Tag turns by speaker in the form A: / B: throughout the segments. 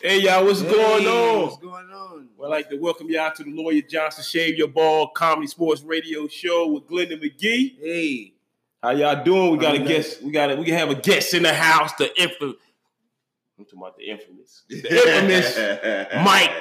A: Hey y'all, what's going
B: Hey,
A: on?
B: What's going on?
A: Well, I'd like to welcome y'all to the Lawyer Johnson Shave Your Ball Comedy Sports Radio Show with Glenda McGee.
B: Hey,
A: How y'all doing? We got a
B: I'm
A: guest. We got a, we can have a guest in the house. The infamous. I'm talking about the infamous. The infamous Mike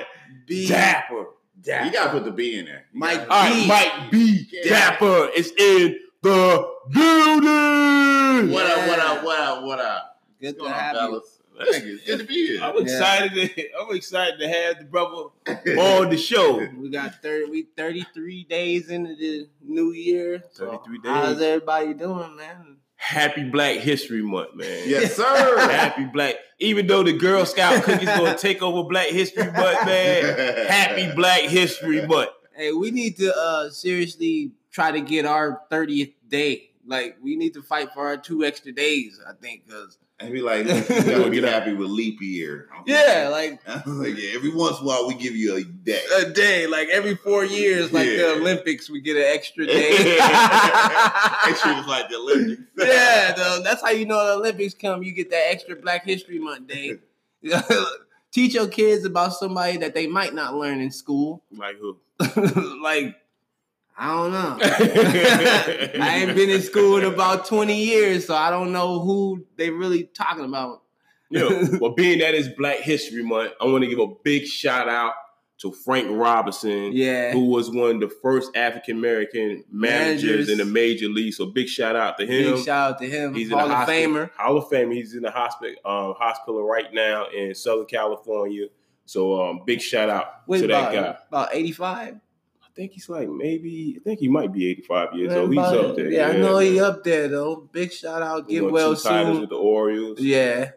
B: B.
A: Dapper.
B: Dap.
C: You gotta put the B in there. You
B: Mike
C: gotta-
A: All right,
B: B.
A: Mike B.
C: Yeah.
A: Dapper is in the building.
C: What up? What up? What up? What up?
B: Good
C: What's
B: to
C: going on,
B: have you.
C: fellas? Thank you. It's good to be here.
A: I'm excited. To, I'm excited to have the brother on the show.
B: We got thirty. We thirty-three days into the new year. So
A: 33
B: How's
A: days.
B: everybody doing, man?
A: Happy Black History Month, man.
C: yes, sir.
A: Happy Black. Even though the Girl Scout cookies gonna take over Black History Month, man. Happy Black History Month.
B: Hey, we need to uh seriously try to get our thirtieth day. Like, we need to fight for our two extra days. I think because
C: And be like, you gotta get happy with leap year.
B: yeah, like
C: like yeah, every once in a while we give you a day.
B: a day. Like every four years, like
C: Yeah.
B: the Olympics, we get an extra day.
C: Actually, it's like the Olympics.
B: yeah, though, that's how you know the Olympics come. You get that extra Black History Month day. Teach your kids about somebody that they might not learn in school.
A: Like who?
B: like, I don't know. I ain't been in school in about 20 years, so I don't know who they really talking about.
A: Yeah. Well, being that it's Black History Month, I want to give a big shout out to Frank Robinson,
B: Yeah.
A: who was one of the first African American managers
B: Managers.
A: in the major league. So big shout out to him.
B: Big shout out to him.
A: He's in
B: Hall
A: the
B: of
A: hospital,
B: Famer.
A: Hall of Fame. He's in the hospital um, hospital right now in Southern California. So um, big shout out
B: Wait,
A: to that
B: about,
A: guy.
B: about 85.
A: I think he's like maybe I think he might be 85 years old. He's
B: About-
A: up there.
B: Yeah, I know he
A: man.
B: up there, though. Big shout out.
A: He
B: Get
A: won two
B: well
A: titles
B: soon.
A: with the Orioles.
B: Yeah.
A: So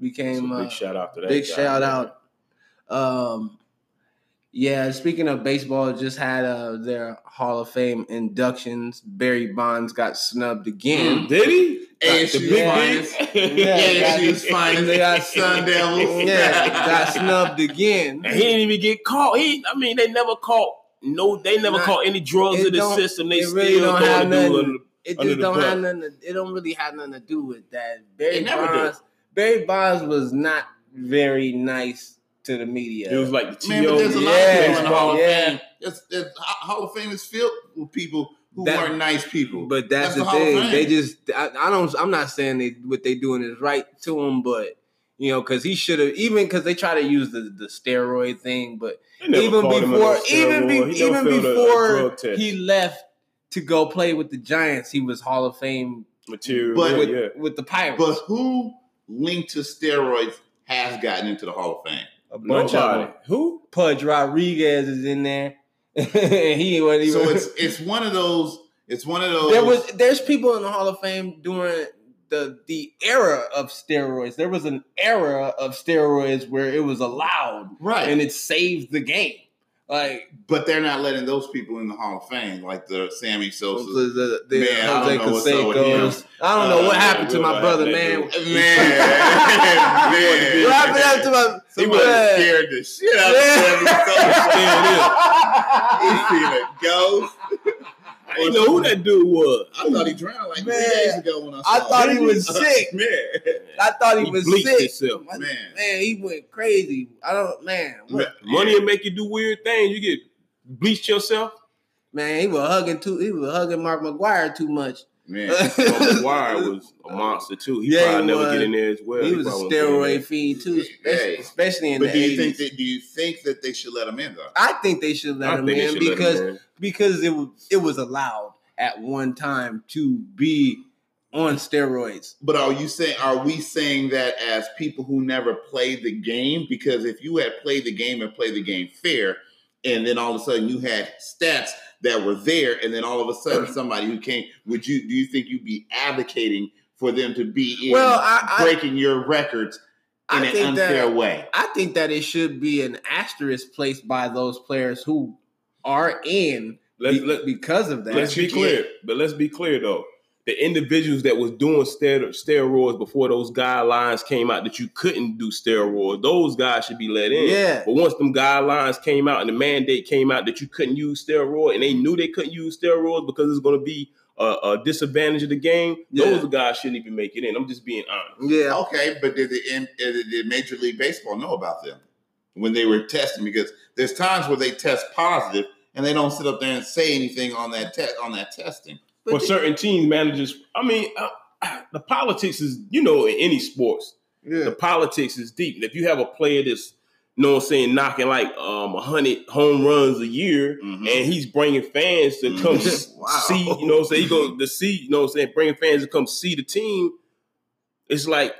B: Became uh,
A: big shout out to that.
B: Big
A: guy,
B: shout
A: man.
B: out. Um, yeah, speaking of baseball, just had uh, their Hall of Fame inductions. Barry Bonds got snubbed again.
A: Mm-hmm. Did he?
C: ASU finest.
B: Yeah,
C: ASU's finest.
B: they got
C: Sun
A: Mm.
C: Devils.
B: yeah, got snubbed again.
A: And he didn't even get caught. He, I mean, they never caught. No, they never
B: Nah,
A: caught any drugs
B: it
A: in the
B: don't-
A: system. They
B: it
A: still
B: really don't
A: throwing
B: have
A: the dude
B: nothing.
A: under the-
B: It
A: Under
B: just
A: the
B: don't
A: bus.
B: have nothing. To, it don't really have nothing to do with that. Barry
C: It never do.
B: Bonds. Barry Bonds was not very nice to the media.
A: It was like the T.O.
C: Man, but there's a lot
B: Yeah,
C: of
A: E
C: people in the Hall of
B: yeah.
C: Fame. That's, that's, Hall of Fame is filled with people who
B: That-
C: aren't nice people.
B: But that's,
C: That's
B: the,
C: the Hall of
B: thing.
C: Fame.
B: They just I, I don't. I'm not saying they what they doing is right to him, but you know, because he should have even because they try to use the the steroid thing, but
A: They never
B: even
A: caught him in no
B: before
A: cell
B: even
A: ward.
B: be,
A: He never
B: even
A: failed a- a
B: before
A: drug test.
B: he left to go play with the Giants, he was Hall of Fame
A: material.
C: But-
A: yeah,
B: with
A: yeah.
B: with the Pirates.
C: But who linked to steroids has gotten into the Hall of Fame?
B: a bunch of
A: Nobody.
B: them. Who? Pudge Rodriguez is in there, and he wasn't even.
C: So it's it's one of those. It's one of those.
B: there was there's people in the Hall of Fame during the the era of steroids. There was an era of steroids where it was allowed
C: right,
B: and it saved the game. Like
C: but they're not letting those people in the Hall of Fame, like the Sammy Sosa.
B: the,
C: Man, I don't know what's up with
B: Canseco's. I don't know
C: Uh,
B: what happened to my
A: what
B: brother, man.
A: happened
B: What
A: to
C: Man, man,
B: happened to my
C: He would
B: man.
C: have scared the shit out of Sammy Sosa. He seen a ghost.
A: I didn't know who that dude was.
C: I thought he drowned like
B: Man,
C: three days ago when I saw
B: I thought he
C: him.
B: was sick.
C: man.
B: I thought he,
A: He
B: was
A: bleached
B: sick.
A: himself.
B: I-
C: Man.
B: man, he went crazy. I don't man. What,
A: Money will make you do weird things. You get bleached yourself.
B: man, he was hugging too he was hugging Mark McGuire too much.
C: Man.
A: McGuire was a monster too. He
B: Yeah,
A: probably
B: he
A: never
B: was.
A: get in there as well.
B: he was a
A: probably wouldn't get in
B: steroid fiend too, especially,
C: Hey.
B: especially in the
C: But do you
B: 80s.
C: think that do you think that they should let him in though?
B: I think they should
A: there.
B: let him
A: I think they
B: in
A: should let him
B: because
A: in.
B: because it was it was allowed at one time to be on steroids.
C: But are you saying are we saying that as people who never played the game? Because if you had played the game and played the game fair, and then all of a sudden you had stats that were there, and then all of a sudden somebody who came, would you do you think you'd be advocating for them to be in
B: Well, I- I-
C: breaking your records in
B: I
C: an
B: think
C: unfair
B: that
C: way?
B: I think that it should be an asterisk placed by those players who are in
A: Let's,
B: be-
A: let,
B: because of that.
A: let's be
C: you can't-
A: clear. But let's be clear though. The individuals that was doing ster- steroids before those guidelines came out that you couldn't do steroids, those guys should be let in.
B: Yeah.
A: But once them guidelines came out and the mandate came out that you couldn't use steroid, and they knew they couldn't use steroids because it's going to be a, a disadvantage of the game,
B: Yeah.
A: those guys shouldn't even make it in. I'm just being honest.
B: Yeah.
C: Okay, but did the, did the Major League Baseball know about them? when they were testing because there's times where they test positive and they don't sit up there and say anything on that test on that testing.
A: for certain teams, managers. I mean, uh, the politics is you know in any sports,
C: Yeah.
A: the politics is deep. And if you have a player that's you know what I'm saying knocking like um hundred home runs a year,
C: Mhm.
A: and he's bringing fans to come
B: Mhm. Wow.
A: see, you know what I'm saying? He go to see, you know what I'm saying? Bringing fans to come see the team. It's like,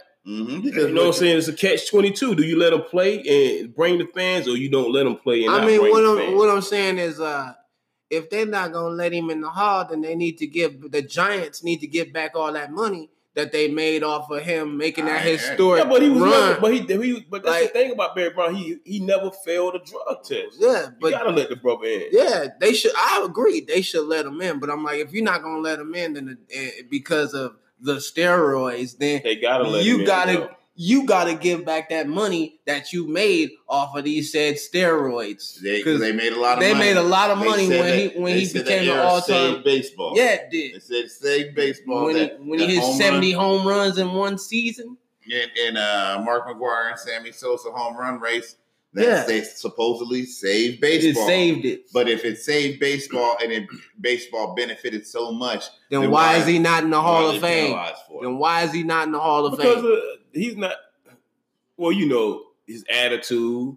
A: you
C: Mhm. Because
A: know what I'm
C: look-
A: saying? It's a catch 22. Do you let them play and bring the fans or you don't let them play and
B: I
A: not
B: mean,
A: bring
B: what
A: the
B: I'm
A: fans?
B: what I'm saying is, uh, if they're not gonna let him in the hall, then they need to give the Giants need to get back all that money that they made off of him making that
C: I-
B: historic
A: yeah, but he was
B: run.
A: never, but he, he but that's
B: Like-
A: the thing about Barry Brown. He he never failed a drug test. You
B: yeah, but
A: gotta let the brother in.
B: yeah, they should. I agree, they should let him in. But I'm like, if you're not gonna let him in, then the, eh, because of the steroids, then
A: They gotta let him
B: you
A: in,
B: gotta
A: yo.
B: you gotta give back that money that you made off of these said steroids.
C: They,
B: 'Cause
C: they made a lot of
B: they
C: money.
B: made a lot of
C: They
B: money
C: said
B: when
C: that-
B: he when
C: they
B: he
C: said that
B: became an
C: era
B: all time.
C: saved baseball.
B: Yeah, it did.
C: They said saved baseball.
B: when he,
C: that-
B: when
C: that
B: he hit
C: home
B: 70
C: run
B: home runs in one season.
C: and, and uh, Mark McGuire and Sammy Sosa home run race that
B: Yeah.
C: they supposedly saved
B: It
C: baseball.
B: saved it.
C: but if it saved baseball and it, baseball benefited so much,
B: Then
C: Then
B: why
C: why-
B: is he not in the Hall
C: why
B: of
C: they
B: Fame?
C: penalized for it?
B: Then why is he not in the Hall of
A: because
B: Fame?
A: uh, he's not. Well, you know his attitude.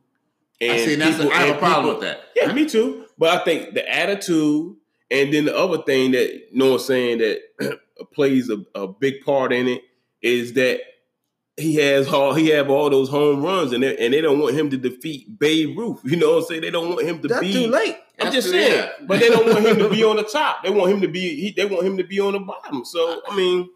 A: And
C: I see. That's
A: people-
C: I have
A: and
C: a problem
A: people-
C: with that.
A: Yeah, me too. But I think the attitude, and then the other thing that you know what I'm saying that plays a, a big part in it is that he has all he have all those home runs, and they, and they don't want him to defeat Babe Ruth. You know what I'm saying? They don't want him to
B: That's
A: be.
B: too late.
A: I'm just
C: That's-
A: saying,
C: yeah.
A: but they don't want him to be on the top. They want him to be. He, they want him to be on the bottom. So I mean,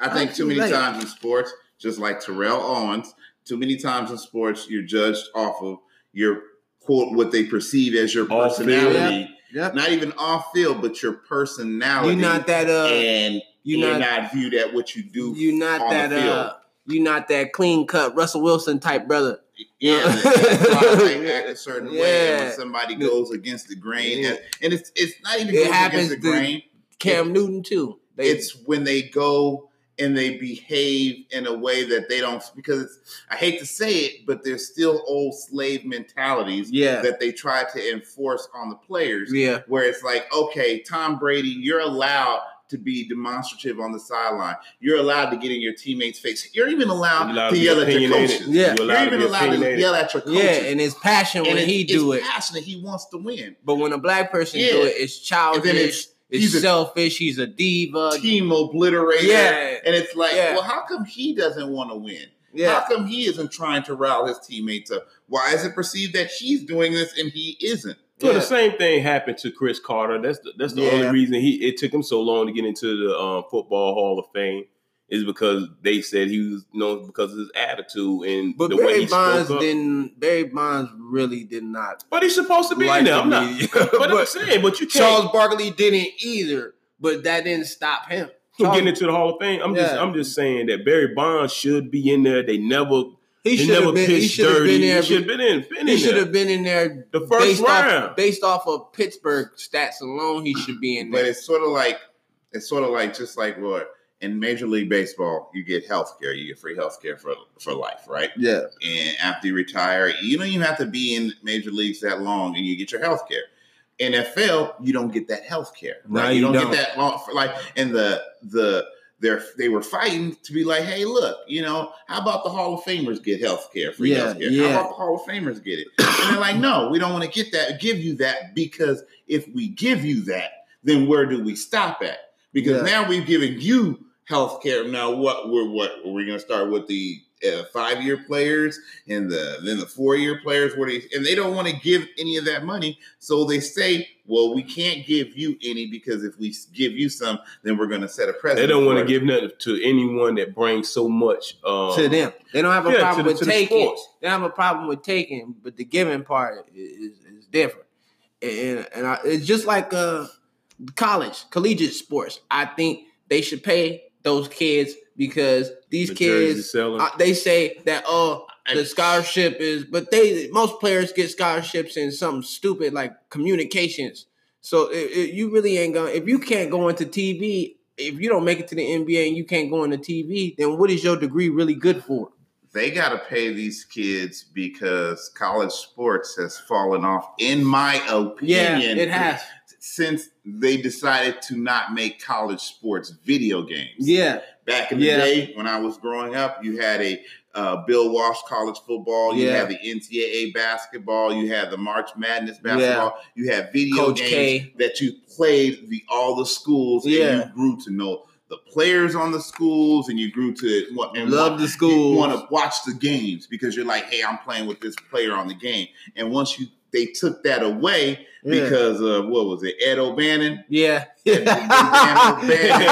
C: I think
B: Not
C: too
B: too
C: many
B: late.
C: times in sports, just like Terrell Owens, too many times in sports, you're judged off of your quote what they perceive as your
A: Off
C: personality.
B: Yep.
C: Not even off field, but your personality.
B: You're not that uh
C: and
B: you're,
C: you're
B: not,
C: not viewed at what you do.
B: you're not
C: on
B: that
C: the field.
B: uh you're not that clean cut Russell Wilson type brother.
C: Yeah,
B: Yeah.
C: that's why I like act a certain way. And
B: Yeah.
C: when somebody goes against the grain,
B: Yeah.
C: and- and it's it's not even
B: It
C: goes
B: happens
C: against the
B: to-
C: grain.
B: Cam Newton too. They,
C: it's when they go and they behave in a way that they don't because it's, I hate to say it, but there's still old slave mentalities
B: yeah.
C: that they try to enforce on the players.
B: Yeah.
C: Where it's like, okay, Tom Brady, you're allowed to be demonstrative on the sideline. You're allowed to get in your teammates' face. You're even allowed, to
A: be
C: yell at your
A: opinionated.
C: coaches.
B: Yeah.
A: You're
C: You're,
A: allowed to
C: even
A: be
C: allowed to
A: opinionated.
C: yell at your coaches.
B: Yeah, and it's passion
C: And
B: when
C: it-
B: he
C: it's
B: do it.
C: passionate. He wants to win.
B: But when a black person
C: Yeah.
B: do it, it's
C: And
B: childish,
C: then
B: it's,
C: it's he's a-
B: selfish, he's a diva.
C: team obliterator.
B: Yeah.
C: And it's like,
B: Yeah.
C: well, how come he doesn't want to win?
B: Yeah.
C: How come he isn't trying to rile his teammates up? Why is it perceived that he's doing this and he isn't?
A: Well,
B: Yeah.
A: the same thing happened to Chris Carter. That's the, that's the
B: Yeah.
A: only reason he it took him so long to get into the um, football Hall of Fame is because they said he was you know because of his attitude and
B: But
A: the way
B: Barry
A: he
B: Bonds
A: spoke up.
B: didn't. Barry Bonds really did not.
A: But he's supposed to be
B: like
A: in there.
B: the
A: I'm not.
B: media.
A: But, I'm
B: But
A: saying, but you can't
B: Charles Barkley didn't either. But that didn't stop him.
A: from
B: Charles-
A: getting into the Hall of Fame. I'm just
B: Yeah.
A: I'm just saying that Barry Bonds should be in there. They never they
B: He should
A: never
B: have been. He
A: pitched
B: should have
A: dirty.
B: been there.
A: he should have been in. Been
B: he
A: in
B: should
A: there.
B: have been in there.
A: The first
B: based off
A: round.
B: based off of Pittsburgh stats alone, he should be in
C: But
B: there.
C: it's sort of like it's sort of like just like what in Major League Baseball, you get health care, you get free health care for, for life, right?
B: Yeah,
C: And after you retire, you don't even have to be in major leagues that long and you get your health care. NFL, you don't get that health care.
B: No,
C: Right? you,
B: you
C: don't,
B: don't.
C: get that long for like and the the they're they were fighting to be like, hey, look, you know, how about the Hall of Famers get health care, free
B: Yeah,
C: health care?
B: yeah.
C: How about the Hall of Famers get it? And they're like, no, we don't want to get that, give you that, because if we give you that, then where do we stop at? Because
B: Yeah.
C: now we've given you health care. Now what we're what we're gonna start with the uh, five year players and the then the four year players where they and they don't want to give any of that money. So they say, well, we can't give you any because if we s- give you some, then we're gonna set a
A: They
C: precedent.
A: don't want
C: for
A: to
C: it.
A: give nothing to anyone that brings so much um,
B: to them, they don't have a
A: yeah, to
B: problem
A: the-
B: with
A: to the
B: taking.
A: sports.
B: They don't have a problem with taking, but the giving part i- is is different. And and I, it's just like uh, college, collegiate sports. I think they should pay those kids because these
A: The jersey
B: kids
A: selling.
B: uh, they say that oh the
C: I-
B: scholarship is but they most players get scholarships in something stupid like communications so it, it- you really ain't gonna if you can't go into tv if you don't make it to the nba and you can't go into tv then what is your degree really good for
C: they got to pay these kids because college sports has fallen off, in my
B: Yeah,
C: opinion.
B: it has.
C: Since they decided to not make college sports video games.
B: Yeah,
C: Back in the
B: Yeah.
C: day when I was growing up, you had a uh, Bill Walsh college football, you
B: Yeah.
C: had the NCAA basketball, you had the March Madness basketball, you had video
B: Coach
C: games
B: K.
C: that you played the all the schools and
B: Yeah.
C: you grew to know the players on the schools and you grew to what and
B: Love the
C: you
B: school.
C: want to watch the games because you're like, hey, I'm playing with this player on the game. And once you they took that away
B: yeah.
C: because of what was it, Ed O'Bannon?
B: yeah.
C: Yeah.
B: nah,
C: Ed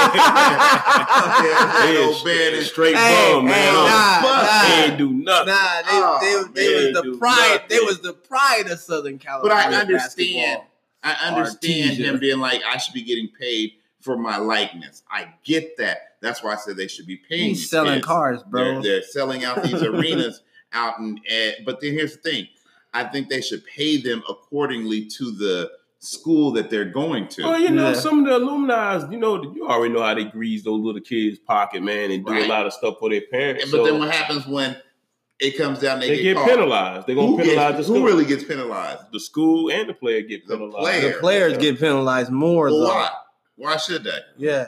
A: Ed,
C: O'Bannon.
A: straight, straight
B: Hey,
A: bum,
B: hey,
A: man.
B: nah,
A: Fuck,
B: nah.
A: they ain't do nothing.
B: they, they, they
A: Oh,
B: was
A: man,
B: the
A: dude,
B: pride. They
A: nothing.
B: was the pride of Southern
C: But
B: California.
C: I understand.
B: basketball.
C: I understand
B: Artesia.
C: him being like, I should be getting paid for my likeness. I get that. That's why I said they should be paying.
B: He's
C: these
B: selling
C: kids.
B: cars, bro.
C: They're, they're selling out these arenas out in. Ed, but then here's the thing: I think they should pay them accordingly to the school that they're going to.
A: Well, you know,
B: Yeah.
A: some of the alumni, you know, you already know how they grease those little kids' pocket, man, and do
C: Right.
A: a lot of stuff for their parents.
C: And-
A: so
C: but then what happens when it comes down? They,
A: they, get,
C: caught.
A: penalized. They're gonna
C: Who,
A: penalize
C: gets-
A: the
C: who
A: school.
C: really gets penalized?
A: the school and the player get
C: The
A: penalized.
C: player.
B: the players get penalized more.
C: Well,
B: though.
C: why? Why should they?
B: Yeah,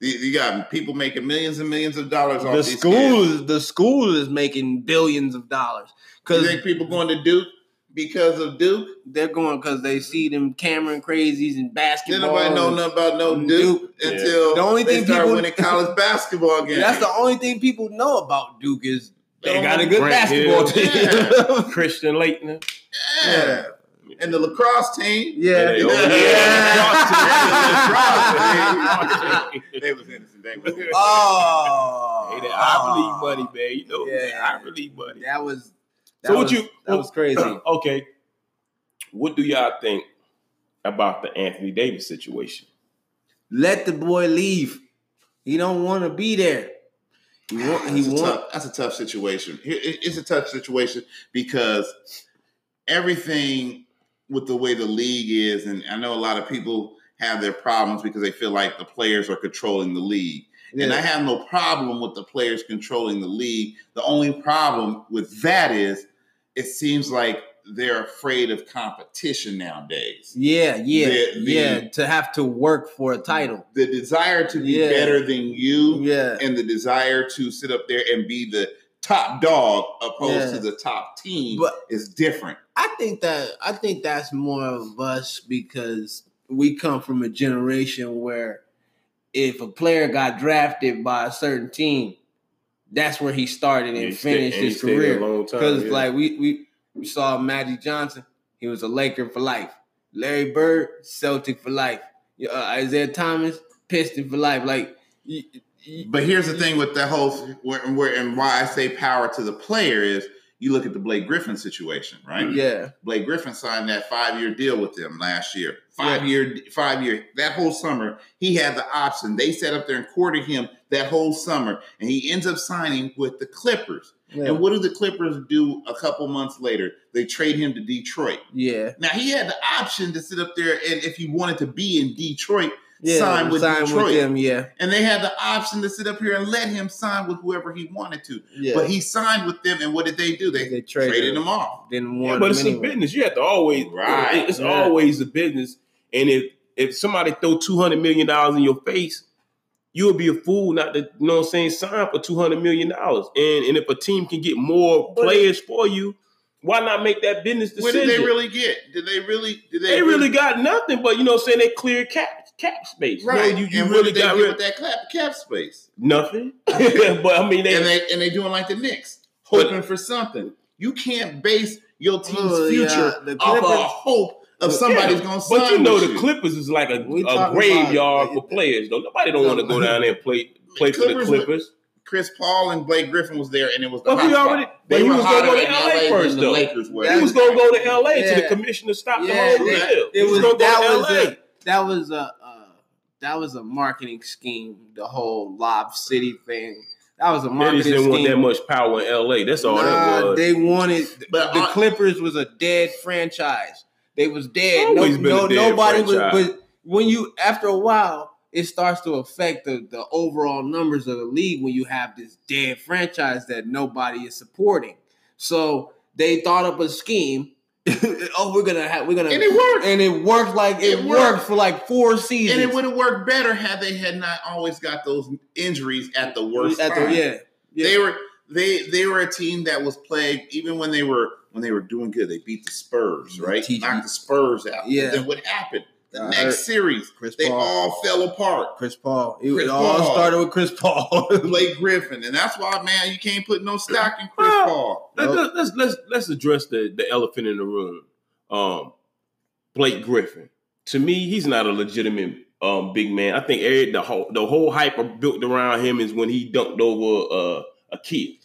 C: You, you got people making millions and millions of dollars off
B: the
C: these
B: school
C: kids.
B: is the school is making billions of dollars
C: You
B: because
C: think people going to Duke because of Duke?
B: they're going because they see them Cameron crazies and
C: Didn't
B: basketball.
C: nobody know
B: and-
C: nothing about no
B: Duke.
C: Duke
A: Yeah.
C: until
B: The only
C: they
B: thing
C: start
B: people-
C: winning college basketball games.
B: That's the only thing people know about Duke is they
A: They
B: got a
A: don't-
B: good
A: Grant
B: basketball
A: Hill.
B: team.
A: Christian Leighton.
C: yeah. And the lacrosse team.
B: Yeah.
A: They,
C: Yeah.
A: over
B: Yeah.
A: there.
C: They was innocent. They was innocent.
B: Oh,
A: Hey, that I believe money, man. You know,
B: Yeah.
A: I believe money.
B: That was. That
A: So what
B: was,
A: you-
B: That was crazy.
A: okay. What do y'all think about the Anthony Davis situation?
B: Let the boy leave. He don't want to be there. He want.
C: That's
B: He
C: a
B: want.
C: tough- that's a tough situation. Here- it- It's a tough situation because everything with the way the league is, and I know a lot of people have their problems because they feel like the players are controlling the league. And I have no problem with the players controlling the league. The only problem with that is it seems like they're afraid of competition nowadays.
B: Yeah, yeah,
C: The- the-
B: yeah. To have to work for a title.
C: The desire to be
B: Yeah.
C: better than you
B: Yeah,
C: and the desire to sit up there and be the top dog opposed
B: Yeah.
C: to the top team
B: But-
C: is different.
B: I think that I think that's more of us because we come from a generation where if a player got drafted by a certain team, that's where he started and
A: He stayed-
B: finished
A: and he
B: his
A: stayed there
B: career.
A: a long time,
B: Because
A: yeah.
B: like we, we we saw Magic Johnson, he was a Laker for life. Larry Bird, Celtic for life. Uh, Isaiah Thomas, Piston for life. Like y- y-
C: But here's the thing with the whole where, where and why I say power to the player is you look at the Blake Griffin situation, right?
B: yeah,
C: Blake Griffin signed that five year deal with them last year.
B: Yeah.
C: Five year, five year. That whole summer, he had the option. They sat up there and courted him that whole summer, and he ends up signing with the Clippers.
B: yeah,
C: And what do the Clippers do a couple months later? They trade him to Detroit.
B: yeah.
C: Now he had the option to sit up there and if he wanted to be in Detroit,
B: yeah.
C: Sign with Detroit.
B: them, yeah,
C: and they had the option to sit up here and let him sign with whoever he wanted to.
B: yeah.
C: But he signed with them, and what did they do? They,
B: They traded
C: traded, him off.
B: didn't
A: Yeah,
B: want.
A: but
B: him
A: it's a
B: anyway.
A: business. You have to always
C: Right.
A: it- It's
B: Yeah.
A: always a business. And if if somebody throw two hundred million dollars in your face, you would be a fool not to you know what I'm saying sign for two hundred million dollars. And and if a team can get more
B: But-
A: players for you, why not make that business
C: What
A: decision?
C: did they really get? Did they really? Did they,
A: They really got nothing, but you know what I'm saying they clear cap cap space. You know,
C: right?
A: you, you
C: and what
A: really
C: did they
A: got
C: get
A: rid-
C: with that cap, cap space?
A: nothing. but I mean they,
C: and they and they doing like the Knicks,
A: But-
C: hoping for something. You can't base your team's
B: Oh, yeah.
C: future
B: The
A: uh,
C: off of a
B: Clippers-
C: hope of somebody's
A: Yeah,
C: going to sign.
A: But you know
C: with
A: the Clippers is like a,
B: We
A: a
B: talking
A: graveyard
B: about-
A: for players though. Nobody don't want to go down there and play play for the
C: Clippers-
A: Clippers.
C: Chris Paul and Blake Griffin was there, and it was the
A: But
C: hot
A: we
C: spot.
A: already-
C: They
A: but Oh, he
C: were
A: was gonna go
C: hotter
A: to
C: in
A: LA
C: than
A: first,
C: the
A: though.
C: Lakers were.
A: He was gonna go to LA to
B: Yeah.
A: the commissioner stopped
B: Yeah,
A: the whole
B: they-
A: deal. He
B: It was,
A: was gonna
B: that
A: go
B: was
A: to LA.
B: a that was a uh, that was a marketing scheme. The whole Lob City thing. That was a
A: They
B: marketing
A: just didn't
B: scheme.
A: want that much power in LA. That's all that
B: Nah,
A: was. Uh,
B: They wanted
C: But uh,
B: the
C: I-
B: Clippers was a dead franchise. They was dead. No,
A: Always been a
B: no
A: dead
B: nobody was.
A: franchise.
B: But when you after a while, it starts to affect the, the overall numbers of the league when you have this dead franchise that nobody is supporting. So they thought up a scheme. oh, we're gonna have we're gonna
C: And it worked.
B: and it worked like it,
C: It
B: worked.
C: worked.
B: for like four seasons.
C: And it would have worked better had they had not always got those injuries at the worst
B: At the-
C: time.
B: yeah, yeah.
C: They were they they were a team that was plagued even when they were when they were doing good. They beat the Spurs, right?
B: Teach-
C: Knocked the Spurs out.
B: Yeah.
C: But then what happened? The
B: Uh,
C: next series,
B: Chris
C: they
B: Paul.
C: all fell apart.
B: Chris Paul. It
C: Chris
B: all
C: Paul.
B: started with Chris Paul.
C: Blake Griffin, and that's why, man, you can't put no stock in Chris
A: Well,
C: Paul.
A: Let,
B: Nope.
A: let, let's let's let's address the the elephant in the room. Um, Blake Griffin. To me, he's not a legitimate um big man. I think every, the whole the whole hype built around him is when he dunked over uh, a kid.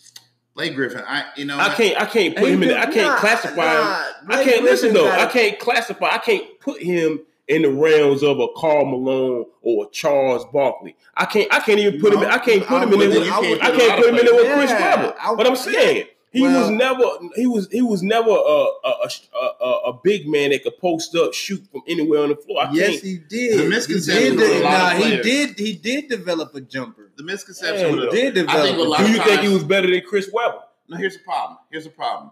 C: Blake Griffin, I you know
A: I can't I can't put him in. I can't classify. him. I can't listen though. I can't classify. I can't put him in the realms of a Carl Malone or a Charles Barkley. I can't. I can't even put him. I can't put him in.
C: wouldn't-
A: there with-
C: you
B: I
C: can't
A: I can't put him in there with Chris
B: Yeah,
A: Webber.
B: I-
A: But I'm saying he
B: Well-
A: was never. He was. He was never a a, a a a big man that could post up, shoot from anywhere on the floor. I
B: yes,
A: can't.
B: he did.
C: The
B: he
C: misconception
B: did.
A: with a
B: de-
C: lot
B: Nah,
C: of
B: he
C: players.
B: did. He did develop a jumper.
C: the
A: Yeah,
C: misconception.
A: he
C: with
A: did.
C: it.
B: Did develop.
C: I think a lot
A: Do
C: of
A: you think he
C: times-
A: was better than Chris Webber?
C: Now here's the problem. Here's the problem.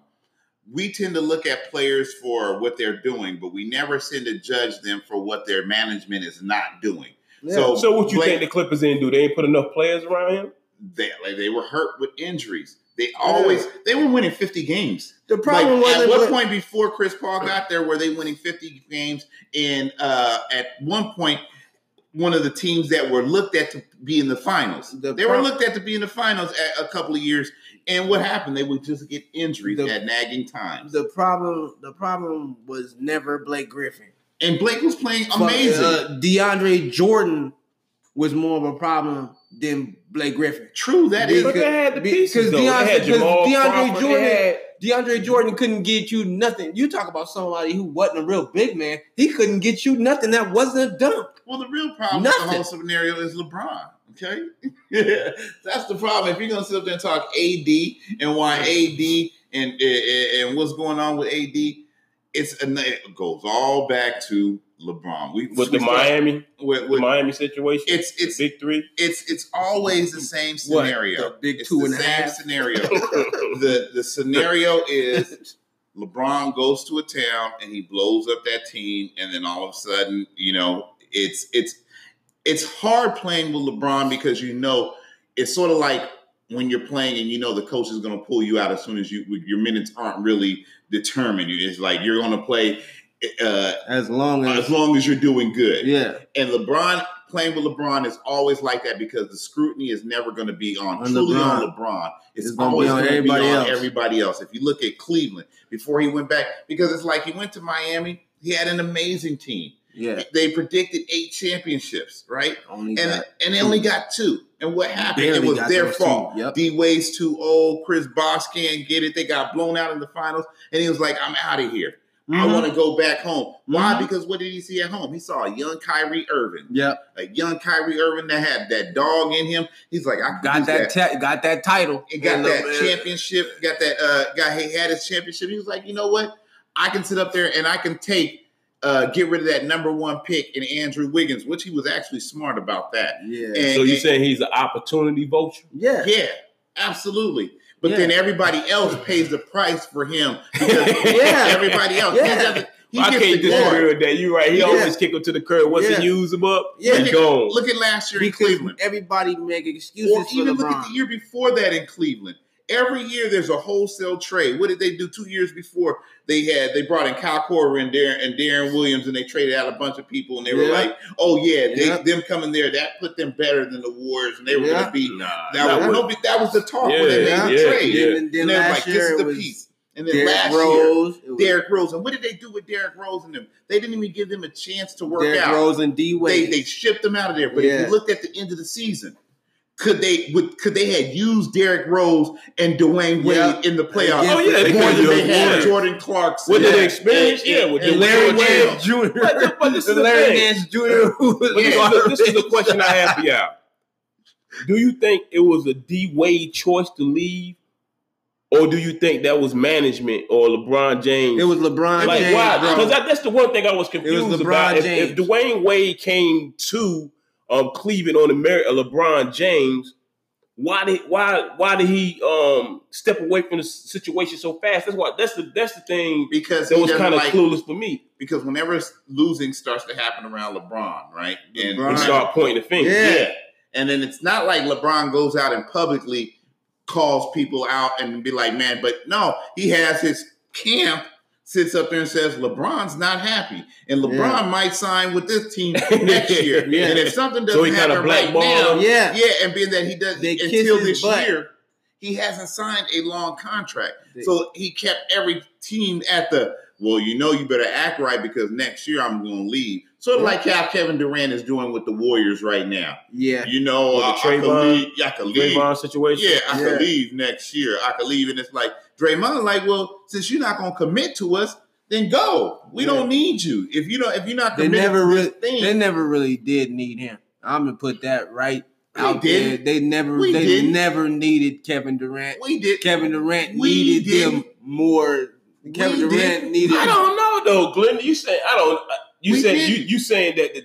C: We tend to look at players for what they're doing, but we never tend to judge them for what their management is not doing. So-
A: So what you
C: Blake-
A: think the Clippers didn't do? They ain't put enough players around him.
C: They like, they were hurt with injuries. They always they were winning 50 games.
B: the problem
C: Like,
B: was
C: at
B: it was-
C: what point before Chris Paul got there were they winning 50 games? And uh, at one point, one of the teams that were looked at to be in the finals.
B: The
C: they
B: pro-
C: were looked at to be in the finals at a couple of years. And what happened? They would just get injuries
B: The-
C: at nagging times.
B: the problem. The problem was never Blake Griffin.
C: And Blake was playing amazing.
B: Fuck, uh, DeAndre Jordan was more of a problem than Blake Griffin.
C: True, that is.
A: But they had the
B: Be-
A: pieces
B: 'cause
A: though. They
B: Deon-
A: had
B: 'cause
A: Jamal
B: DeAndre
A: Crawford. They
B: Jordan-
A: had-
B: DeAndre Jordan couldn't get you nothing. You talk about somebody who wasn't a real big man. He couldn't get you nothing. That wasn't a dunk.
C: Well, the real problem with the
B: Nothing.
C: whole scenario is LeBron. Okay, that's the problem. If you're gonna sit up there and talk AD and why AD and and, and what's going on with AD, it's an- it goes all back to LeBron. We
A: with
C: we
A: the
C: start-
A: Miami,
C: with,
A: the
C: with,
A: Miami situation.
C: it's it's
A: big three.
C: it's it's always the same
B: What?
C: scenario.
B: The big
C: It's
B: two
C: the
B: and a
C: same
B: half.
C: scenario. the the scenario is LeBron goes to a town and he blows up that team, and then all of a sudden, you know, it's it's it's hard playing with LeBron because you know it's sort of like when you're playing and you know the coach is going to pull you out as soon as you your minutes aren't really determined. It's like you're going to play uh,
B: As long
C: as long as you're doing good.
B: yeah,
C: And LeBron playing with LeBron is always like that because the scrutiny is never going to be on,
B: On
C: truly on
B: LeBron.
C: LeBron. It's,
B: It's gonna be
C: always
B: on
C: going to be on
B: everybody else.
C: everybody else. If you look at Cleveland before he went back, because it's like he went to Miami, he had an amazing team.
B: yeah.
C: They predicted eight championships, right?
B: Only
C: And
B: got-
C: and they only got two. And what happened? It
B: barely
C: was
B: got
C: their
B: those
C: fault.
B: two. Yep.
C: D Wade's too old. Chris Bosh can't get it. They got blown out in the finals, and he was like, "I'm out of here.
A: Mm-hmm.
B: Mm-hmm.
C: I want to go back home." Why?
B: Mhm.
C: Because what did he see at home? He saw a young Kyrie Irving
B: Yep.
C: a young Kyrie Irving that had that dog in him. He's like, I
B: Got that. ta- got that title.
C: and got
B: And
C: that
B: the-
C: championship. Got that. Uh, got he had his championship. He was like, you know what? I can sit up there and I can take, uh, get rid of that number one pick in Andrew Wiggins, which he was actually smart about that.
B: Yeah.
C: And,
A: so you
C: and-
A: saying he's an opportunity vulture?
B: Yeah.
C: yeah, absolutely. But
B: Yeah.
C: then everybody else pays the price for him because
B: Yeah.
C: everybody else.
B: Yeah.
C: He doesn't. He
A: I
C: gets
A: can't
C: the glory.
A: disagree with that. You right. He
B: Yeah.
A: always kick him to the curb. Once
B: Yeah.
A: he use him up,
B: Yeah.
A: he gone.
C: Look at last year in
B: Because
C: Cleveland.
B: everybody make excuses
C: Or even
B: for
C: look at the
B: LeBron.
C: year before that in Cleveland. Every year there's a wholesale trade. What did they do two years before? They had they brought in Kyle Korver and Darren and Darren Williams and they traded out a bunch of people and they were
B: Yeah.
C: like, oh yeah, they,
B: Yeah.
C: them coming there that put them better than the Warriors and they were
B: Yeah.
C: gonna be
A: nah,
C: that,
A: nah,
C: was,
A: what-
C: no, but that was the talk
A: Yeah,
C: when they made the
A: yeah,
C: trade.
A: yeah.
B: And
C: And
B: then
C: they're
B: last year
C: like, this is
B: it
C: the
B: was
C: piece. And then
B: Derrick
C: last year,
B: Rose. It was
C: Derrick Rose. And what did they do with Derrick Rose and them? They didn't even give them a chance to work
B: Derrick
C: out
B: Rose and D
C: they
B: Wade.
C: they shipped him out of there. But if
B: Yeah.
C: you looked at the end of the season, could they would could they had used Derrick Rose and Dwayne Wade
B: Yeah.
C: in the playoffs?
B: Yeah,
A: Oh, yeah, they
C: more
A: could've
C: than they
A: used
C: had
A: Wade.
C: Jordan Clarkson.
A: With
B: Yeah.
A: the experience, yeah, with
C: And
A: the
C: Larry
A: with the-
C: Wade.
B: Jr.
A: But th- but this is
B: And
A: the
B: Larry
A: thing.
B: Nance Jr. who was
A: But this,
B: on
A: is the,
B: the
A: this is the
B: bench.
A: question I have for y'all. Do you think it was a D Wade choice to leave, or do you think that was management or LeBron James?
B: It was LeBron
A: like
B: James.
A: why?
B: bro.
A: Because that's the one thing I was confused
B: LeBron
A: about. If, if
B: James.
A: Dwayne Wade came to um Cleveland on the merit of LeBron James, why did why why did he um step away from the situation so fast? That's why that's the that's the thing
C: because
A: that
C: he
A: was
C: doesn't
A: kind of
C: like,
A: clueless for me.
C: because whenever losing starts to happen around LeBron, right? And
A: We
B: LeBron.
A: start pointing the finger.
C: yeah.
B: Yeah.
C: And then it's not like LeBron goes out and publicly calls people out and be like, man, but no, he has his camp sits up there and says, LeBron's not happy. And LeBron
B: Yeah.
C: might sign with this team next year.
A: Yeah.
C: And if something doesn't
A: So he kinda
C: happen right
A: blackballed
C: now,
A: him.
B: Yeah.
C: yeah, and being that he doesn't
B: They kiss
C: until
B: his
C: this
B: butt.
C: year, he hasn't signed a long contract.
B: They-
C: so he kept every team at the well, you know, you better act right because next year I'm going to leave. Sort of like how Kevin Durant is doing with the Warriors right now.
B: Yeah.
C: You know,
A: With the
C: I, I could
A: Trayvon-
C: leave. I could leave.
A: Draymond situation.
C: Yeah, I could
B: Yeah.
C: leave next year. I could leave, and it's like Draymond, like, well, since you're not going to commit to us, then go. We
B: Yeah.
C: don't need you if you don't. If you're not
B: They
C: committed
B: never
C: to this
B: really
C: thing,
B: they never really did need him. I'm gonna put that right
C: We
B: out
C: didn't.
B: there. They never
C: We
B: they
C: didn't.
B: never needed Kevin Durant.
C: we did.
B: Kevin Durant
C: We
B: needed them
C: didn't.
B: more. Kevin
C: We
B: Durant
C: didn't.
B: needed
A: I don't know though, Glenn. You say I don't. uh, You
C: We
A: said you
C: didn't.
A: you saying that the,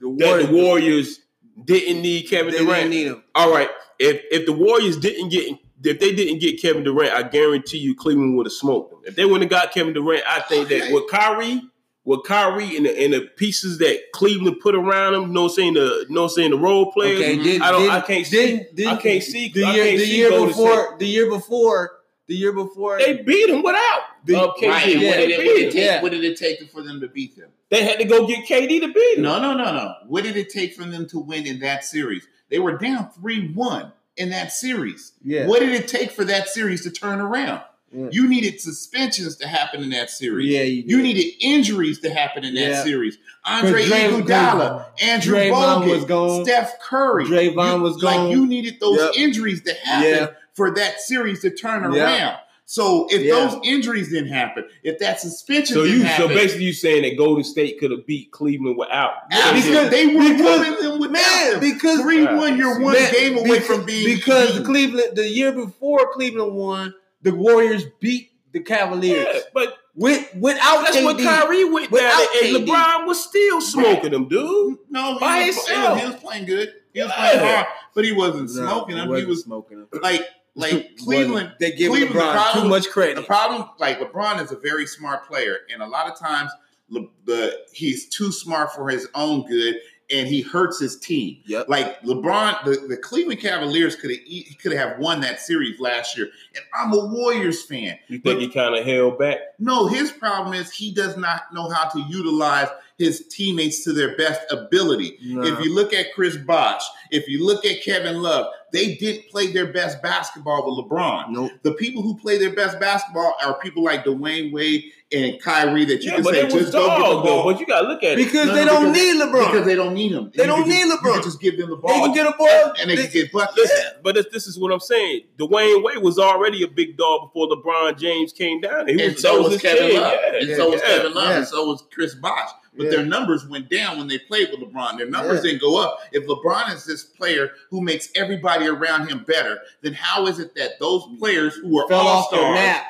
B: the
A: that
B: Warriors.
A: the Warriors didn't need
B: they
A: Kevin
B: didn't
A: Durant.
B: need him.
A: All right, if if the Warriors didn't get if they didn't get Kevin Durant, I guarantee you Cleveland would have smoked them. If they wouldn't have got Kevin Durant, I think that
C: Okay.
A: with Kyrie, with Kyrie and the, and the pieces that Cleveland put around him, no saying the no saying the role players.
B: Okay, did,
A: I don't.
B: did,
A: I can't see.
B: did,
A: I can't see.
B: the
A: I
B: year,
A: can't
B: the
A: see
B: year
A: Golden
B: before. The year before. The year before.
A: They beat him without.
B: The-
A: uh, KD.
C: Right. and
B: Yeah,
C: Oh, what, did
A: They
C: it,
A: beat
C: what, did
A: him.
C: it take,
B: Yeah.
C: what did it take for them to beat them?
A: They had to go get KD to beat him.
C: No, no, no, no. What did it take for them to win in that series? They were down 3 1 in that series.
B: yeah.
C: What did it take for that series to turn around?
B: Yeah.
C: You needed suspensions to happen in that series.
B: Yeah,
C: You needed injuries to happen in that
B: Yeah.
C: series. Andre
B: Dray-
C: Iguodala, Andrew
B: Draymond
C: Bogut,
B: was gone.
C: Steph Curry.
B: Draymond
C: You-
B: was gone.
C: Like you needed those
B: Yep.
C: injuries to happen
B: Yeah.
C: for that series to turn
B: Yeah.
C: around. So if
B: Yeah.
C: those injuries didn't happen, if that suspension
A: So
C: didn't
A: you so
C: happen,
A: basically you saying that Golden State could have beat Cleveland without
C: Yeah,
A: KD.
C: because they were
B: because-
C: winning them without
B: man,
C: them.
B: because
C: three one, you're one
B: Man,
C: game away
B: because-
C: from being
B: because
C: beaten.
B: Cleveland the year before Cleveland won, the Warriors beat the Cavaliers
A: Yeah, but
B: with without
A: that's what
B: KD.
A: Kyrie went down,
B: Without
A: there, and
B: KD.
A: LeBron was still smoking them, dude.
C: No, he,
A: By
C: was, he
A: himself.
C: was- he was playing good. He was playing
A: Yeah.
C: hard, but he wasn't
B: No,
C: smoking. I mean, he
B: wasn't
C: was
B: smoking. them.
C: like like
B: Wasn't.
C: Cleveland.
B: They give
C: Cleveland, the
B: LeBron too
C: problem-
B: much
C: The
B: credit.
C: problem, like LeBron, is a very smart player, and a lot of times Le, the, he's too smart for his own good, and he hurts his team.
B: Yep.
C: Like LeBron, the, the Cleveland Cavaliers could have could have won that series last year, and I'm a Warriors fan.
A: You think he kind of held back?
C: No, his problem is he does not know how to utilize his teammates to their best ability.
B: Nah.
C: If you look at Chris Bosh, if you look at Kevin Love, they didn't play their best basketball with LeBron.
B: Nope.
C: The people who play their best basketball are people like Dwayne Wade and Kyrie that you
A: Yeah,
C: can
A: but
C: say
A: it was
C: just go get the
A: dog though.
C: ball
A: But you gotta look at it.
B: Because
C: No,
B: they
C: no,
B: don't
C: because-
B: need LeBron.
C: because they don't need him.
B: They
C: You
B: don't
C: can-
B: need
C: You
B: LeBron.
C: can just give them the
B: they
C: ball
B: can get a ball.
C: and they, can get buckets.
A: Listen, but this, this is what I'm saying. Dwayne Wade was already a big dog before LeBron James came down. He was,
C: and so
A: that
C: was,
A: his
C: Kevin
A: kid.
C: Love,
A: Yeah,
C: and so was
A: yeah.
C: Kevin Love,
B: Yeah.
C: and so was Chris Bosh. But
B: Yeah.
C: their numbers went down when they played with LeBron. Their numbers
B: Yeah.
C: didn't go up. If LeBron is this player who makes everybody around him better, then how is it that those players who were
B: Fell
C: all
B: off their
C: stars
B: nap.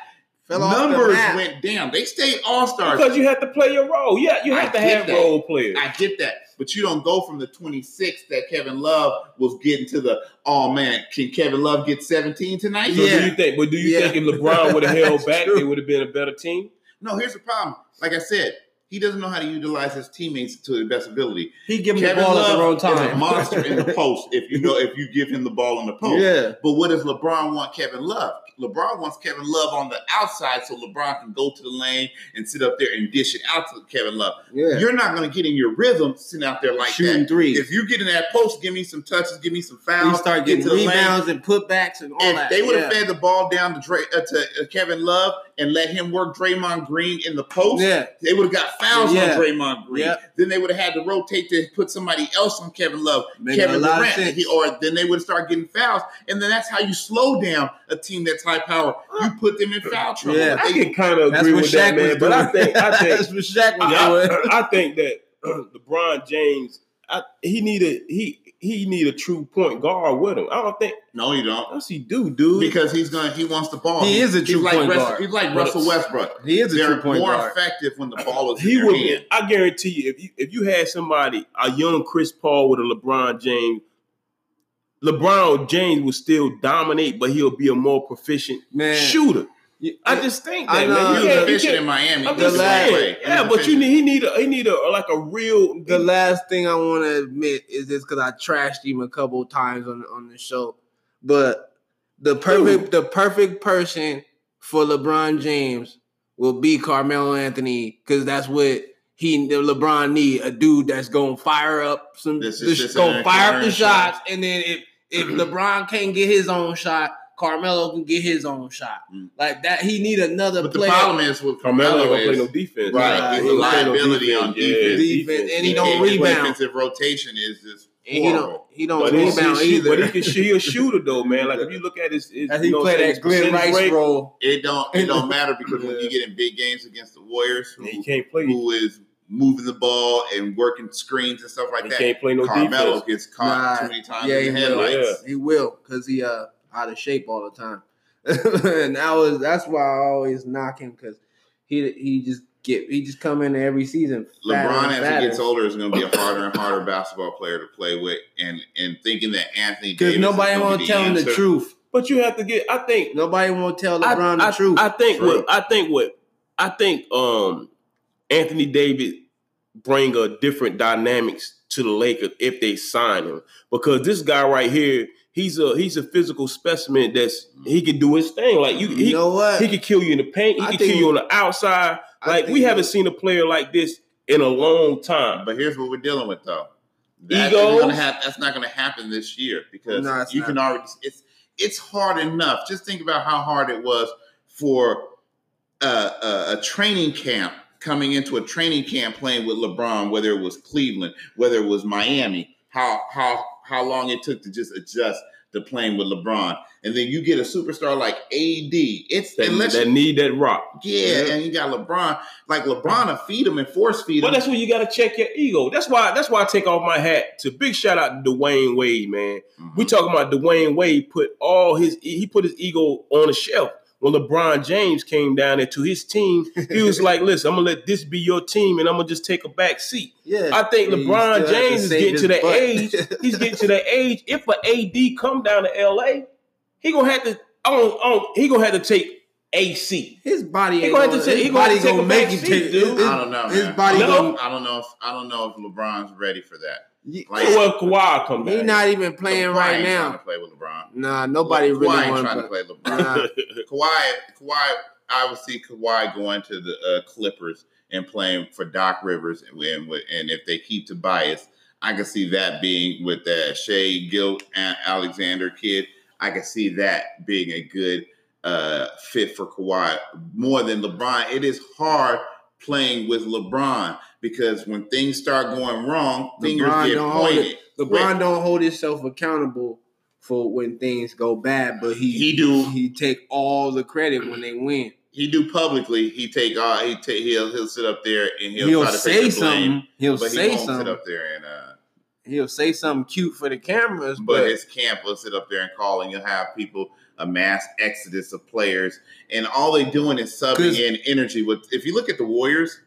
B: Fell off their
C: numbers
B: nap.
C: went down? They stayed all stars.
A: Because you have to play your role. Yeah, you
C: I
A: have to
C: get
A: have
C: that.
A: role players.
C: I get that, but you don't go from the 26 that Kevin Love was getting to the oh man, can Kevin Love get 17 tonight?
A: So
B: Yeah.
A: do you think? But do you
B: Yeah.
A: think if LeBron would have held
B: That's
A: back,
B: true.
A: they would have been a better team?
C: No, here's the problem. Like I said, he doesn't know how to utilize his teammates to the best ability.
B: He give him the
C: Kevin
B: ball at
C: Love
B: the wrong
C: is
B: time.
C: a monster in the post if you know if you give him the ball in the post.
B: yeah.
C: But what does LeBron want Kevin Love? LeBron wants Kevin Love on the outside so LeBron can go to the lane and sit up there and dish it out to Kevin Love.
B: Yeah.
C: You're not going to get in your rhythm sitting out there like
B: Shooting
C: that.
B: threes.
C: If you get in that post, give me some touches, give me some
B: We
C: fouls.
B: start
C: get
B: getting
C: to the lane.
B: rebounds and putbacks and all
C: If
B: that.
C: they would have
B: yeah.
C: fed the ball down to, Dray, uh, to uh, Kevin Love and let him work Draymond Green in the post,
B: Yeah.
C: they would have got fouls
B: Yeah.
C: on Draymond Green.
B: Yeah.
C: Then they would have had to rotate to put somebody else on Kevin Love,
B: Making
C: Kevin
B: a lot of
C: Durant,
B: sense.
C: He- or then they would start getting fouls. And then that's how you slow down a team that's high power. You put them in foul trouble.
B: Yeah.
A: I
C: They-
A: can kind of
B: That's
A: agree
B: what
A: with
B: Shaq
A: that, man.
B: was
A: But I
B: doing.
A: think I think
B: That's what Shaq was doing.
A: I, I think that LeBron James, I, he need a he he need a true point guard with him. I don't think
C: No, you don't.
A: yes he do, dude.
C: Because he's gonna he wants the ball.
D: He is a
C: he's
D: true
C: like
D: point
C: Russell,
D: guard.
C: He's like
A: But
C: Russell Westbrook.
D: He is a
C: They're
D: true point
C: more
D: guard.
C: effective when the ball is in
A: he
C: their
A: would.
C: hand.
A: Be, I guarantee you, if you if you had somebody a young Chris Paul with a LeBron James, LeBron James would still dominate, but he'll be a more proficient
D: Man,
A: shooter.
D: You-
A: I just think
D: I
A: that
D: know.
A: man, you
C: He was
A: can't- you
C: efficient
A: can't-
C: in Miami.
A: I'm
C: He was
D: the
A: just
C: that way.
A: saying,
C: He was
A: yeah, but you
C: efficient.
A: need he need a he need a like a real
B: The last thing I want to admit is this because I trashed him a couple times on on the show, but the perfect the perfect person for LeBron James will be Carmelo Anthony because that's what he the LeBron need a dude that's gonna fire up some
C: This
B: this
C: is just
B: gonna
C: an
B: fire up the
C: occurrence.
B: shots and then if if LeBron can't get his own shot, Carmelo can get his own shot
C: Mm.
B: like that. He need another
C: But the
B: player.
C: problem is with
A: Carmelo
C: Carmelo
A: don't play
C: is
A: no defense.
C: Right,
B: he's
A: He
B: a
A: don't play no
C: liability on defense.
B: Defense, and he don't
C: his
B: rebound.
C: defensive rotation is just
B: and he don't
C: horrible.
B: he
A: But
B: don't
A: he's-
B: rebound
A: he's-
B: either.
A: But he can she a shooter though, man. Like if you look at his, his
D: as he
A: you know,
D: played
A: his
D: that Glenn
A: percentage
D: Rice
A: rate,
D: role.
C: It don't it don't matter because when
D: Yeah.
C: you get in big games against the Warriors, who,
A: he can't play.
C: who is moving the ball and working screens and stuff like
A: he
C: that,
A: can't play no
C: Carmelo
A: defense.
C: gets caught
B: Nah,
C: too many times
B: yeah,
C: in the
B: he will.
C: headlights.
A: Yeah.
B: He will, cause he uh out of shape all the time, and that was that's why I always knock him, cause he he just get he just come in every season. fatter
C: LeBron,
B: and
C: as
B: fatter.
C: he gets older, is going to be a harder and harder basketball player to play with, and and thinking that Anthony
B: cause
C: Davis is
B: nobody
C: gonna
B: want
C: be
B: to tell him the
C: answer.
B: truth.
A: But you have to get. I think
B: Nobody want to tell
A: I-
B: LeBron the
A: I,
B: truth.
A: I think
C: True.
A: what I think what I think um Anthony Davis bring a different dynamics to the Lakers if they sign him because this guy right here he's a he's a physical specimen that's he can do his thing like you
B: you
A: he,
B: know what?
A: he can kill you in the paint he
B: I
A: can
B: think-
A: kill you on the outside
B: I
A: like we
B: think-
A: haven't seen a player like this in a long time
C: But here's what we're dealing with though. That
A: Egos?
C: isn't gonna hap- that's not going to happen this year because
B: No, it's
C: you can already. It's it's hard enough. Just think about how hard it was for uh, a, a training camp coming into a training camp playing with LeBron, whether it was Cleveland, whether it was Miami. How how how long it took to just adjust to playing with LeBron, and then you get a superstar like AD. It's
A: that,
C: unless
A: that
C: you,
A: need that rock
C: yeah, and you got LeBron. Like LeBron, to feed him and force feed
A: but
C: him.
A: that's where you got to check your ego that's why that's why I take off my hat to big shout out to Dwayne Wade man
C: Mhm.
A: We talking about Dwayne Wade put all his he put his ego on the shelf when LeBron James came down there to his team. He was like, "Listen, I'm gonna let this be your team, and I'm gonna just take a back seat."
B: yeah,
A: I think
B: Yeah, you still
A: LeBron
B: have to
A: James is
B: save
A: getting
B: his
A: to that
B: butt.
A: age. He's getting to that age. If a AD come down to LA, he gonna have to on on he gonna have to take a seat.
B: his body.
A: He
B: ain't
A: gonna have to
B: gonna,
A: take- he
B: his
A: gonna have
B: body
A: to take
B: gonna
A: a
B: make
A: back
B: him
A: seat,
B: take
A: dude.
B: his-
C: I don't know.
B: His
C: man.
B: body
A: No.
B: gonna.
C: I don't know if I don't know if LeBron's ready for that. Like,
A: So what if Kawhi come
B: He
A: down?
B: not even playing
C: LeBron
B: right
C: ain't Trying
B: now.
C: to play with LeBron.
B: Nah, nobody
C: Le- Kawhi
B: really
C: ain't
B: want
C: trying to
B: to.
C: play LeBron.
B: Nah,
C: Kawhi, Kawhi, I would see Kawhi going to the uh, Clippers and playing for Doc Rivers, and and, with- and if they keep Tobias, I can see that being with that Shea Gilt and Alexander kid. I can see that being a good uh, fit for Kawhi more than LeBron. It is hard playing with LeBron because when things start going wrong, fingers
B: LeBron
C: get
B: don't hold it.
C: pointed.
B: LeBron don't hold himself accountable for when things go bad, but he
C: He do.
B: he take all the credit when they win.
C: he do publicly. He take uh, he take he'll he'll sit up there and he'll,
B: He'll,
C: try to take
B: say
C: the blame,
B: something. He'll
C: but he
B: say
C: won't sit
B: something.
C: up there and uh,
B: He'll say something cute for the cameras,
C: but,
B: but,
C: his camp will sit up there and call, and you'll have people a mass exodus of players, and all they doing is subbing
B: 'Cause-
C: in energy. With if you look at the Warriors,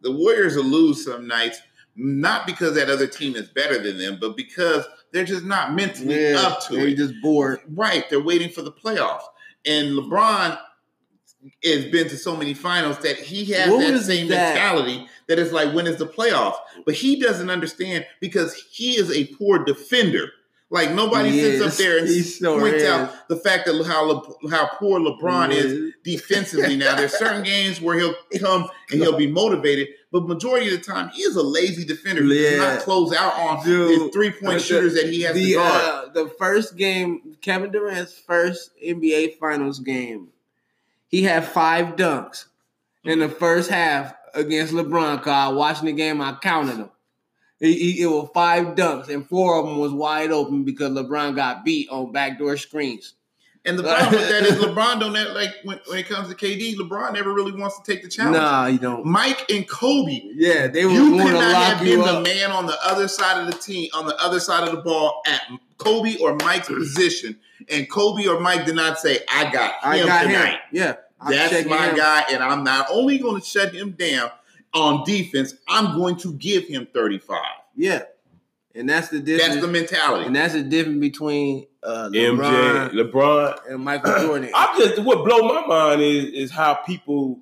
C: the Warriors will lose some nights, not because that other team is better than them, but because they're just not mentally
B: yeah,
C: up to
B: they
C: it.
B: just bored.
C: Right, they're waiting for the playoffs, and LeBron has been to so many finals that he has
B: What
C: that
B: was
C: same
B: that?
C: mentality that is like, when is the playoffs? But he doesn't understand because he is a poor defender. Like nobody
B: He
C: sits up
B: is.
C: there and
B: He sure
C: points
B: is.
C: out the fact that how Le- how poor LeBron is defensively. Now there's certain games where he'll come and he'll be motivated, but majority of the time he is a lazy defender. He does
B: Yeah.
C: not close out on his
B: Dude,
C: three point
B: the-
C: shooters that he has to
B: the
C: guard.
B: uh, the first game, Kevin Durant's first NBA Finals game, he had five dunks in the first half against LeBron. Cause I watching the game, I counted them. He- he- it was five dunks, and four of them was wide open because LeBron got beat on backdoor screens.
C: And the problem with that is LeBron don't that, like when, when it comes to KD, LeBron never really wants to take the challenge.
B: Nah, you don't.
C: Mike and Kobe,
B: Yeah, they
C: you
B: would
C: could
B: want to
C: not have
B: lock
C: been
B: you
C: the
B: up.
C: man on the other side of the team, on the other side of the ball at Kobe or Mike's position, and Kobe or Mike did not say, "I got him
B: I got
C: tonight."
B: him. Yeah, I'm
C: That's
B: checking
C: my
B: him.
C: guy, and I'm not only going to shut him down on defense. I'm going to give him 35.
B: Yeah, and that's the difference.
C: That's the mentality.
B: and that's the difference between uh, LeBron
A: MJ, LeBron.
B: and Michael Jordan.
A: I'm just what blow my mind is is how people